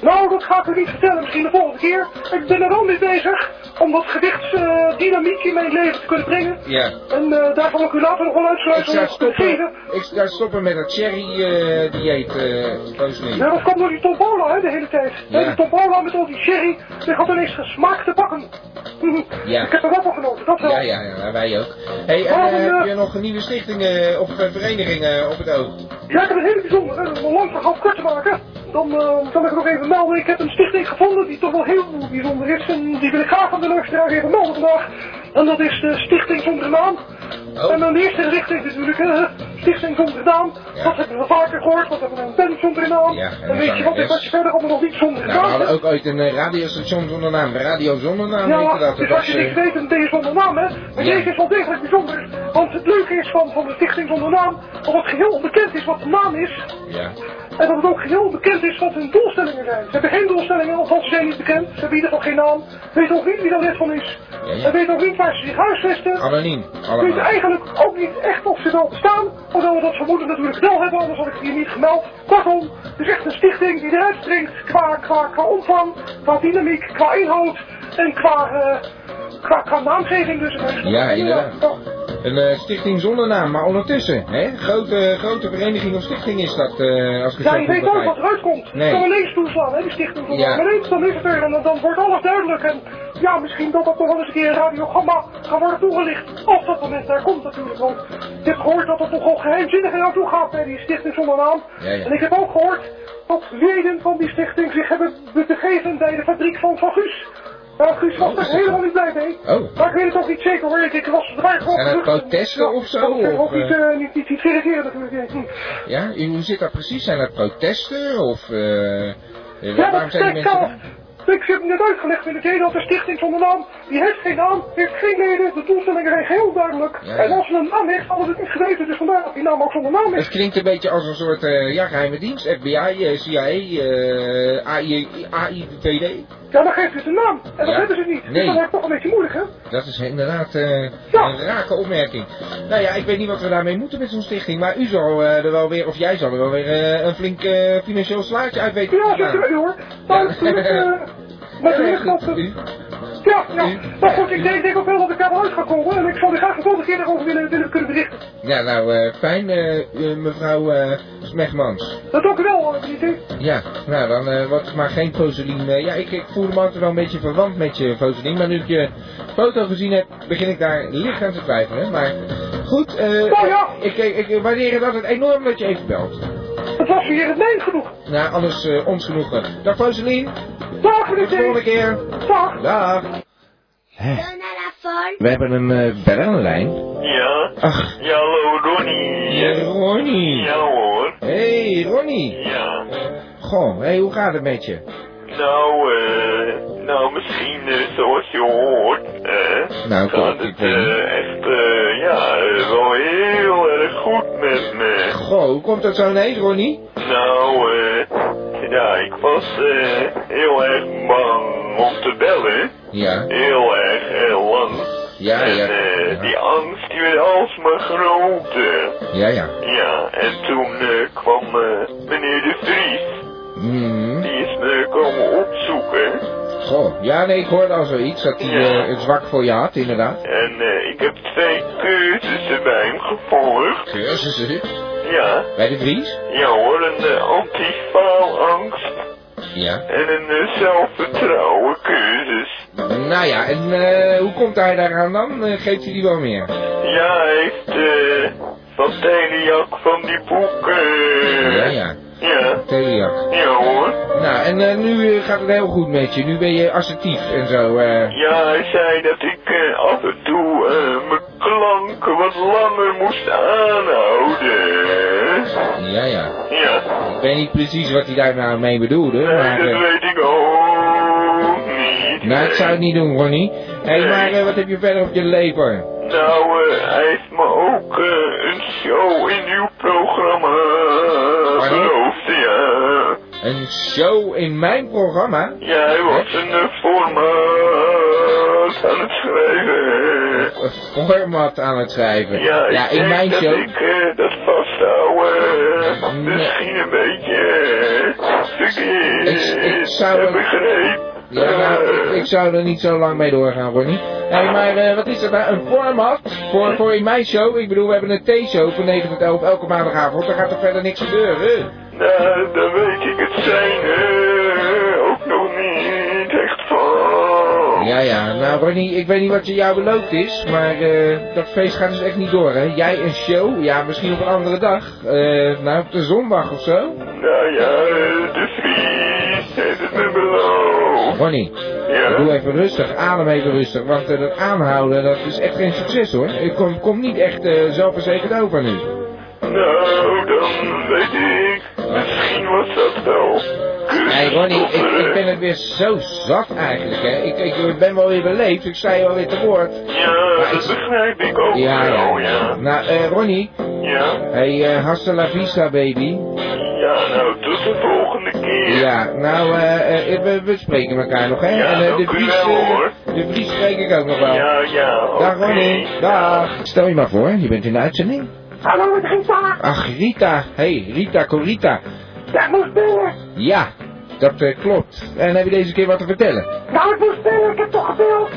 S9: Nou, dat ga ik u niet vertellen, misschien de volgende keer. Ik ben er al mee bezig om wat gewichtsdynamiek in mijn leven te kunnen brengen.
S2: Ja.
S9: En eh, daar zal ik u later nog wel
S2: Ik eh.
S9: uitsluiten om
S2: zou
S9: het te
S2: stoppen,
S9: geven.
S2: ik zou stoppen met dat cherry-dieet, eh Rosalien.
S9: Ja, dat komt door die tombola, hè, de hele tijd.
S2: Ja.
S9: Ja. Die tombola met al die sherry, die had ineens smaak te pakken.
S2: Ja.
S9: Ik heb er wel van genoten, dat wel.
S2: Ja, ja, ja, wij ook. Hey, en
S9: Oh,
S2: eh,
S9: ja.
S2: heb je nog nieuwe stichtingen of eh, verenigingen op het oog?
S9: Ja, ik heb een hele bijzonder, eh, om een lang verhaal kort te maken. Dan eh, zal ik het nog even melden. Ik heb een stichting gevonden die toch wel heel bijzonder is. En die wil ik graag aan de luisteraar even melden vandaag. En dat is de Stichting Zonder Naam.
S2: Oh.
S9: En dan de eerste richting natuurlijk, hè. Stichting Zonder Naam.
S2: Ja.
S9: Dat hebben we vaker gehoord, want we hebben een band zonder naam.
S2: Ja, en
S9: en weet je wat,
S2: zangeres.
S9: ik was je verder allemaal nog niet zonder
S2: Nou, we
S9: gedaan.
S2: hadden ook ooit een eh, radiostation zonder naam. Radio zonder naam
S9: Ja,
S2: heette dat. Dat
S9: dus als
S2: was,
S9: je niks
S2: eh,
S9: weet, dan ben je zonder naam, hè. Maar
S2: Ja.
S9: deze is wel degelijk bijzonder. Want het leuke is van, van de Stichting Zonder Naam, dat het geheel onbekend is wat de naam is.
S2: ja.
S9: En dat het ook heel bekend is wat hun doelstellingen zijn. Ze hebben geen doelstellingen, althans ze zijn niet bekend. Ze hebben in ieder geval geen naam. Ze weten ook niet wie daar lid van is.
S2: Ja, ja.
S9: Ze weten ook niet waar ze zich huisvesten.
S2: Anoniem,
S9: Ze weten
S2: allemaal.
S9: eigenlijk ook niet echt of ze wel bestaan. Hoewel we dat vermoeden natuurlijk wel hebben, anders had ik het hier niet gemeld. Kortom, het is echt een stichting die eruit springt qua, qua, qua omvang, qua dynamiek, qua inhoud en qua, eh, qua, qua naamgeving. Dus het is-
S2: Ja, inderdaad. Een eh, stichting zonder naam, maar ondertussen, hè? Grote, grote vereniging of stichting is dat, eh, als ik het
S9: Ja,
S2: zo
S9: je
S2: goed
S9: weet nooit wat
S2: begrijp.
S9: eruit komt.
S2: Nee.
S9: Kan ineens toeslaan, hè, die stichting. Van
S2: Ja.
S9: ja. Ineens, dan is het er en dan, dan wordt alles duidelijk. En ja, misschien dat dat nog wel eens een keer in Radio Gamma gaat worden toegelicht. Of dat moment daar komt natuurlijk. Want ik heb gehoord dat het nogal geheimzinnig aan jou toe gaat bij die stichting zonder naam.
S2: Ja, ja.
S9: En ik heb ook gehoord dat leden van die stichting zich hebben be- begeven bij de fabriek van Van Guus. Nou, Guus was
S2: Oh, is
S9: daar
S2: dat
S9: helemaal
S2: zo?
S9: niet blij mee.
S2: Oh.
S9: Maar ik weet het ook niet zeker hoor. Ik, ik was er maar gewoon
S2: Zijn het
S9: geruchten.
S2: protesten
S9: Ja,
S2: of zo,
S9: dat
S2: of,
S9: zijn Ook niet,
S2: eh?
S9: eh, niet, niet, niet verifiëren natuurlijk. Hm.
S2: Ja, en hoe zit dat precies? Zijn dat protesten of... eh,
S9: Ja,
S2: waarom
S9: dat
S2: zijn die
S9: steekt
S2: mensen...
S9: af. Ik heb net uitgelegd in het hele dat de stichting zonder naam, die heeft geen naam, heeft geen leden, de doelstellingen zijn heel duidelijk.
S2: Ja, ja.
S9: En als ze een naam heeft, hadden we het niet geweten, dus vandaar dat die naam ook zonder naam
S2: Het
S9: is.
S2: klinkt een beetje als een soort eh, ja, geheime dienst, FBI, eh, CIA, eh AI, AIVD.
S9: Ja, dan geeft het een naam. En dat
S2: Ja.
S9: hebben ze niet.
S2: Nee.
S9: Dus dat wordt toch een beetje moeilijk, hè?
S2: Dat is inderdaad eh,
S9: Ja.
S2: een rake opmerking. Nou ja, ik weet niet wat we daarmee moeten met zo'n stichting, maar u zal eh, er wel weer, of jij zal er wel weer eh, een flink eh, financieel slaatje uit weten
S9: Ja,
S2: te
S9: zeker
S2: slaan.
S9: weten, hoor. Maar
S2: Ja.
S9: natuurlijk, eh, natuurlijk dat...
S2: goed, u.
S9: Ja, ja. Maar goed, ik denk, denk ook wel dat ik daaruit ga komen en ik zou er graag de volgende keer nog over willen, willen kunnen berichten.
S2: Ja, nou eh, fijn, eh, eh, mevrouw eh Smegmans.
S9: Dat ook wel, eh, die ding.
S2: Ja, nou dan eh wat maar geen Foselien. eh, ja, ik, ik voel me altijd wel een beetje verwant met je Foselien, maar nu ik je foto gezien heb, begin ik daar licht aan te twijfelen. Maar goed, eh,
S9: Nou ja.
S2: ik, ik, ik waardeer het altijd enorm dat je even belt.
S9: Het was weer het mijn genoeg.
S2: Nou, anders eh, ons genoegen. Dag Foselien,
S9: Dag,
S2: tot de volgende
S9: meneer D.
S2: keer.
S9: Dag.
S2: Dag.
S10: Turn à la folle.
S2: We hebben een eh bel aan de lijn.
S11: Ja,
S2: Ach,
S11: ja, hallo Ronnie.
S2: Ronnie.
S11: Ja hoor,
S2: hey, Ronnie.
S11: ja.
S2: Goh, hey, hoe gaat het met je?
S11: Nou, eh, nou misschien eh, zoals je hoort, eh,
S2: Nou,
S11: gaat
S2: goed, ik
S11: het
S2: weet niet.
S11: eh, echt, eh, ja, eh, wel heel erg goed met me.
S2: Goh, hoe komt dat zo ineens, Ronnie?
S11: Nou, eh, ja, ik was eh, heel erg bang om te bellen.
S2: Ja,
S11: Heel erg, heel lang.
S2: ja,
S11: en
S2: ja.
S11: eh,
S2: Ja.
S11: die angst die werd alsmaar groter.
S2: Ja, ja.
S11: Ja, en toen eh, kwam eh, meneer De Vries.
S2: Mm.
S11: Die is me komen opzoeken.
S2: Goh, ja, nee, ik hoorde al zoiets dat hij eh, het zwak voor je had, inderdaad.
S11: En eh, ik heb twee cursussen bij hem gevolgd.
S2: Cursussen
S11: Ja,
S2: bij de Vries?
S11: ja hoor, een eh, antifaalangst
S2: Ja.
S11: en een eh, zelfvertrouwen cursus.
S2: Nou ja, en eh, hoe komt hij daaraan dan? Eh, geeft hij die wel meer?
S11: Ja, hij heeft eh, van Telenjak van die boeken.
S2: Ja, ja.
S11: Ja.
S2: Celiac.
S11: Ja hoor.
S2: Nou, en eh, nu eh, gaat het heel goed met je. Nu ben je assertief en zo. eh.
S11: Ja, hij zei dat ik eh, af en toe eh, mijn klanken wat langer moest aanhouden.
S2: Ja, ja.
S11: Ja,
S2: Ik weet niet precies wat hij daar nou mee bedoelde,
S11: nee,
S2: maar...
S11: dat
S2: eh,
S11: weet ik ook niet.
S2: nou, ik zou het niet doen, Ronnie. Hé, hey, maar eh, wat heb je verder op je lever?
S11: Nou, eh, hij heeft me ook eh, een show in uw programma beloofd, ja.
S2: Een show in mijn programma?
S11: Ja, hij was een eh, formaat aan het schrijven.
S2: Een format aan het schrijven.
S11: Ja, ik
S2: in
S11: denk
S2: mijn
S11: dat
S2: show.
S11: ik eh, dat vasthouden eh,
S2: Nee.
S11: misschien een beetje eh,
S2: Ik-
S11: verkeerd
S2: ik zou
S11: heb
S2: het-
S11: begrepen.
S2: Ja, nou, ik, ik zou er niet zo lang mee doorgaan, Ronnie. Hé, maar eh, wat is dat nou? Een format voor, voor in mijn show? Ik bedoel, we hebben een T-show van 9 tot 11 elke maandagavond. Dan gaat er verder niks gebeuren.
S11: Nou, dan weet ik het zijn eh, ook nog niet echt van.
S2: Ja, ja. Nou, Ronnie, ik weet niet wat je jou beloofd is, maar eh, dat feest gaat dus echt niet door, hè? Jij een show? Ja, misschien op een andere dag. Eh, nou, op de zondag of zo.
S11: Nou ja, eh, de Vries heeft het me beloofd.
S2: Ronnie, doe
S11: Ja?
S2: even rustig. Adem even rustig, want eh, dat aanhouden, dat is echt geen succes, hoor. Ik kom, kom niet echt eh, zelfverzekerd over nu.
S11: Nou, dan weet ik. Misschien was dat wel.
S2: Hey Ronnie, ik,
S11: eh,
S2: ik ben het weer zo zat eigenlijk, hè. Ik, ik ben wel weer beleefd, ik sta je wel weer te woord.
S11: Ja, dat begrijp ik ook wel, ja.
S2: Nou, eh, Ronnie,
S11: Ja,
S2: hey, eh hasta la vista, baby.
S11: ja, nou, tot de volgende keer.
S2: Ja, nou, eh, eh, we, we spreken elkaar nog, hè.
S11: Ja,
S2: en eh, de
S11: dank u
S2: Vries,
S11: wel,
S2: eh,
S11: hoor.
S2: de Vries spreek ik ook nog wel.
S11: ja, ja oké.
S2: Dag Ronnie, dag. Stel je maar voor, je bent in de uitzending.
S6: Hallo, het Rita.
S2: Ach, Rita, hey, Rita Corita.
S6: Jij moest bellen.
S2: Ja, dat eh, klopt. En heb je deze keer wat te vertellen?
S6: Nou, ik moest bellen. Ik heb toch gebeld.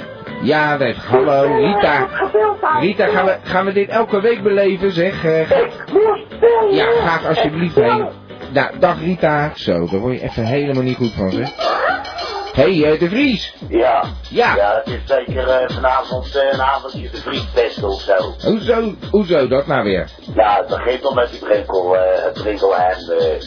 S2: Ja, nee, hallo,
S6: Ik
S2: Eh, Rita.
S6: heb gebeld, daar.
S2: Rita, gaan we, gaan we dit elke week beleven, zeg? Eh, ga-
S6: Ik moest bellen.
S2: ja, graag alsjeblieft
S6: Ik
S2: heen.
S6: bel.
S2: Nou, dag Rita. Zo, daar word je even helemaal niet goed van, zeg. Hé, hey, eh, De Vries.
S12: Ja.
S2: Ja.
S12: Ja, het is zeker eh, vanavond eh, een avondje de vriendbest of zo.
S2: Hoezo, hoezo dat nou weer?
S12: Nou, het begint al met die prikkel, eh het prikkelheim. eh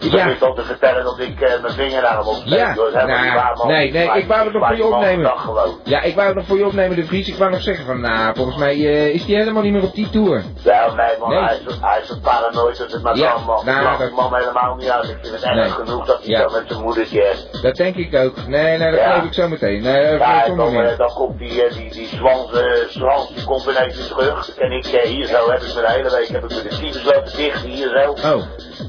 S12: die
S2: Ja.
S12: begint al te vertellen dat ik eh, mijn vinger aan hem opsteek.
S2: Ja,
S12: hoor. Dat is helemaal
S2: nou,
S12: niet waar, man.
S2: nee, nee,
S12: Maar
S2: ik wou het nog
S12: maak
S2: voor je
S12: hem al
S2: opnemen.
S12: dag gewoon.
S2: Ja, ik wou het nog voor je opnemen, De Vries. Ik wou nog zeggen van, nou, volgens mij eh, is die helemaal niet meer op die tour.
S12: Ja, nee man,
S2: Nee.
S12: Hij, is, hij is een paranoïde, dat het maar
S2: Ja,
S12: kan man.
S2: nou,
S12: Lacht
S2: dat-
S12: die man helemaal niet uit. Ik vind het
S2: Nee.
S12: erg genoeg dat hij
S2: Ja.
S12: zo met zijn moedertje is.
S2: Dat denk ik ook. Nee, nee, dat
S12: Ja.
S2: geloof ik zo meteen. Nee, dat
S12: Ja,
S2: geloof ik
S12: en dan,
S2: zonder meer.
S12: eh, dan komt die, eh, die, die zwans, eh, zwans, die komt ineens weer terug. En ik eh, hier zo heb ik me de hele week heb ik me de tyfus lopen dicht, hier zo.
S2: Oh,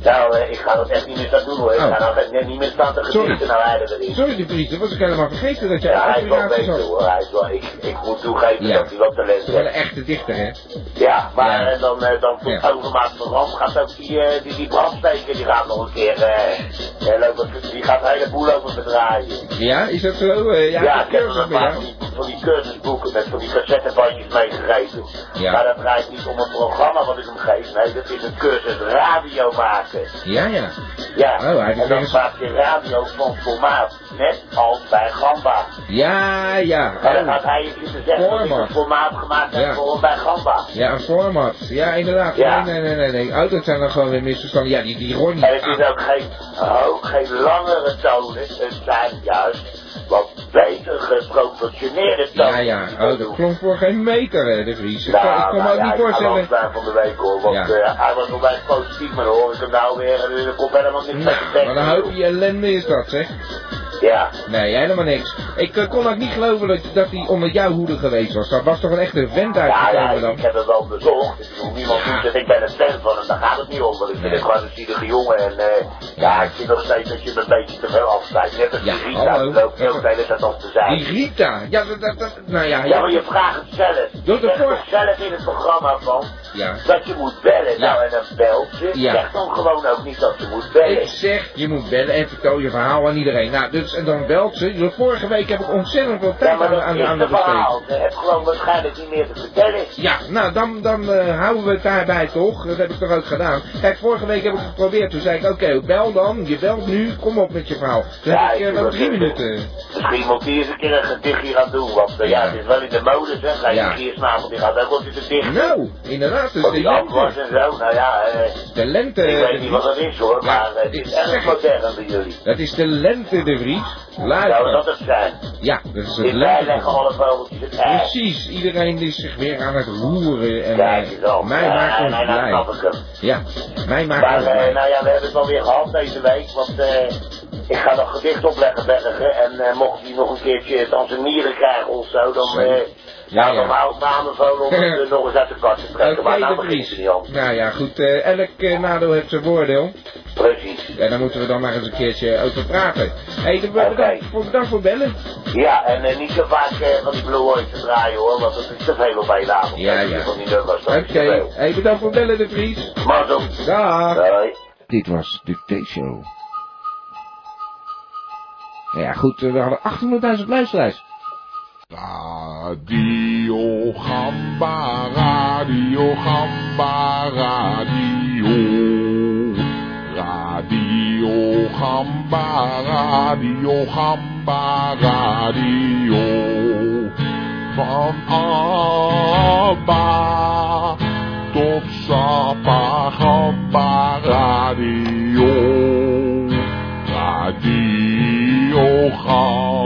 S12: Nou, eh, ik ga dat echt niet meer staan doen hoor. Ik
S2: Oh.
S12: ga nou echt net niet meer staan te
S2: Sorry.
S12: genieten nou eigenlijk niet.
S2: sorry De Vries, dat was ik helemaal vergeten dat jij
S12: Ja, hij is wel
S2: aspiraties
S12: beter
S2: had.
S12: hoor. Hij is wel, ik, ik moet toegeven
S2: Ja.
S12: dat hij wel talent
S2: Dat is wel een
S12: heeft.
S2: echte dichter, hè?
S12: Ja, maar
S2: Ja.
S12: eh, dan, eh, dan komt
S2: Ja.
S12: overmaat van Ram, gaat ook die, eh, die, die brandsteker, die gaat nog een keer, eh, eh, lopen, die gaat een heleboel over bedraaien.
S2: Ja, is dat zo? Eh, ja,
S12: Ja,
S2: dat
S12: ik heb hem
S2: keurig
S12: een
S2: met
S12: paar
S2: jou.
S12: van die, van die cursusboeken met van die cassettebandjes meegegeven.
S2: Ja.
S12: Maar dat draait niet om een programma wat ik hem geef. Nee, dat is een cursus radio maken.
S2: Ja, ja.
S12: Ja.
S2: Oh, hij heeft
S12: en
S2: weer
S12: dan
S2: eens-
S12: maak je radio van formaat. Net als bij Gamba.
S2: Ja, ja.
S12: En dan gaat
S2: Oh.
S12: hij iets te zeggen dat ik
S2: Format.
S12: een formaat gemaakt heb
S2: Ja.
S12: voor bij Gamba.
S2: Ja, een format. Ja, inderdaad.
S12: Ja.
S2: Nee, nee, nee, nee. nee. Oh, dat zijn dan gewoon weer misverstanden. Ja, die, die Ronnie.
S12: En het is ook geen, ook geen langere tonen. Het zijn juist wat beter geproportioneerde tonen.
S2: Ja, ja.
S12: die
S2: Oh,
S12: dat
S2: dat
S12: doen.
S2: klonk voor geen meter, hè, de Vries. Ik
S12: Nou,
S2: kan, ik kan me
S12: nou
S2: ook
S12: ja,
S2: niet
S12: Ik kan
S2: voorstellen.
S12: wel van de week hoor, want
S2: Ja.
S12: eh, hij was onwijs positief, maar dan hoor ik hem nou weer en er komt helemaal niks uit de
S2: Nou, wat een
S12: tekst.
S2: hoopje ellende is dat, zeg.
S12: Ja,
S2: Nee, helemaal niks. Ik eh, kon ook niet geloven dat, dat hij onder jouw hoede geweest was. Dat was toch een echte vent
S12: ja, ja,
S2: uitgekomen dan?
S12: ik heb het wel bezocht. Ik bedoel, niemand doet het. Ik ben een fan van hem, daar gaat het niet om. Want ik vind
S2: Nee.
S12: het gewoon een zielige jongen. En eh, ja, ik vind nog steeds dat je hem een beetje te veel afsluit. Net als
S2: Ja,
S12: die
S2: hallo.
S12: Rita, die loopt heel de hele tijd op te zijn.
S2: Die Rita. Ja, dat, dat, dat- nou ja.
S12: Ja, maar
S2: Ja,
S12: je vraagt het zelf.
S2: Doe
S12: Je
S2: het
S12: zegt
S2: ervoor.
S12: toch zelf in het programma van
S2: ja.
S12: dat je moet bellen.
S2: Ja.
S12: Nou, en dan belt ze.
S2: Ja.
S12: Zeg dan gewoon ook niet dat je moet bellen.
S2: Ik zeg, je moet bellen en vertel je verhaal aan iedereen. Nou, dus steeds en dan belt ze. Dus vorige week heb ik ontzettend veel tijd
S12: Ja, maar
S2: aan,
S12: dat
S2: aan,
S12: is
S2: aan
S12: de
S2: de
S12: verhaal.
S2: besteed.
S12: Je hebt gewoon waarschijnlijk niet meer te vertellen.
S2: Ja, nou dan, dan eh, houden we het daarbij toch. Dat heb ik toch ook gedaan. Kijk, vorige week heb ik het geprobeerd. Toen zei ik, oké, bel dan. Je belt nu. Kom op met je verhaal. Toen
S12: Ja,
S2: heb ik
S12: ik
S2: eh,
S12: doe
S2: wel
S12: dat
S2: drie
S12: even.
S2: minuten.
S12: Misschien moet hij eens een keer een gedichtje gaan doen, want eh, ja, het is wel in de mode, zeg. Hij
S2: Ja.
S12: ja. keer s'avond, die gaat ook wel zitten dicht.
S2: Nou, inderdaad, dus
S12: Op
S2: de
S12: die afwas
S2: lente.
S12: en zo, nou ja, eh,
S2: De lente.
S12: ik
S2: de
S12: weet niet wat dat
S2: Vries.
S12: is hoor,
S2: Ja,
S12: maar eh, het
S2: ik
S12: is erg
S2: zeg
S12: modern bij jullie.
S2: Dat is de lente, de Vries.
S12: Zou dat
S2: Luister.
S12: het zijn?
S2: Ja, dat is het
S12: In wij
S2: lente.
S12: leggen alle vogeltjes het ei.
S2: Precies, iedereen is zich weer aan het roeren en
S12: Kijk
S2: eh,
S12: eens al.
S2: mij
S12: Ja,
S2: maakt ons
S12: nee, nou
S2: blij.
S12: snap ik hem.
S2: Ja, mij maakt
S12: Maar
S2: ons
S12: eh,
S2: blij.
S12: nou ja, we hebben het alweer gehad deze week, want eh, ik ga nog gedicht opleggen bergen. En eh, mocht hij nog een keertje Tanzanieren krijgen of zo, dan, eh
S2: Ja,
S12: nou,
S2: ja.
S12: dan hou ik me aanbevolen om het eh, nog eens uit de kast te trekken.
S2: Oké,
S12: maar nou
S2: de
S12: begint het
S2: Vries.
S12: niet al.
S2: Nou ja, goed, eh, elk eh, nadeel heeft zijn voordeel.
S12: Precies.
S2: En daar moeten we dan maar eens een keertje over praten. Hé, hey, de-
S12: Oké.
S2: bedankt, voor, bedankt voor bellen.
S12: Ja, en eh, niet zo vaak eh, van die Blue Oyster te draaien hoor, want dat is te veel op één avond.
S2: Ja,
S12: Dat is
S2: ja.
S12: Van die nummers, dat
S2: Oké,
S12: is te veel.
S2: hey, bedankt voor bellen, de Vries.
S12: Maar eh, zo.
S2: Dag.
S12: Hoi.
S2: Dit was de T-show. Nou ja, goed, eh, we hadden 800.000 luisteraars.
S5: Radio Gamba, Radio Gamba, Radio. Radio Gamba, Radio Gamba, Radio. Van Abba tot Sapa Gamba, Radio. Radio Gamba.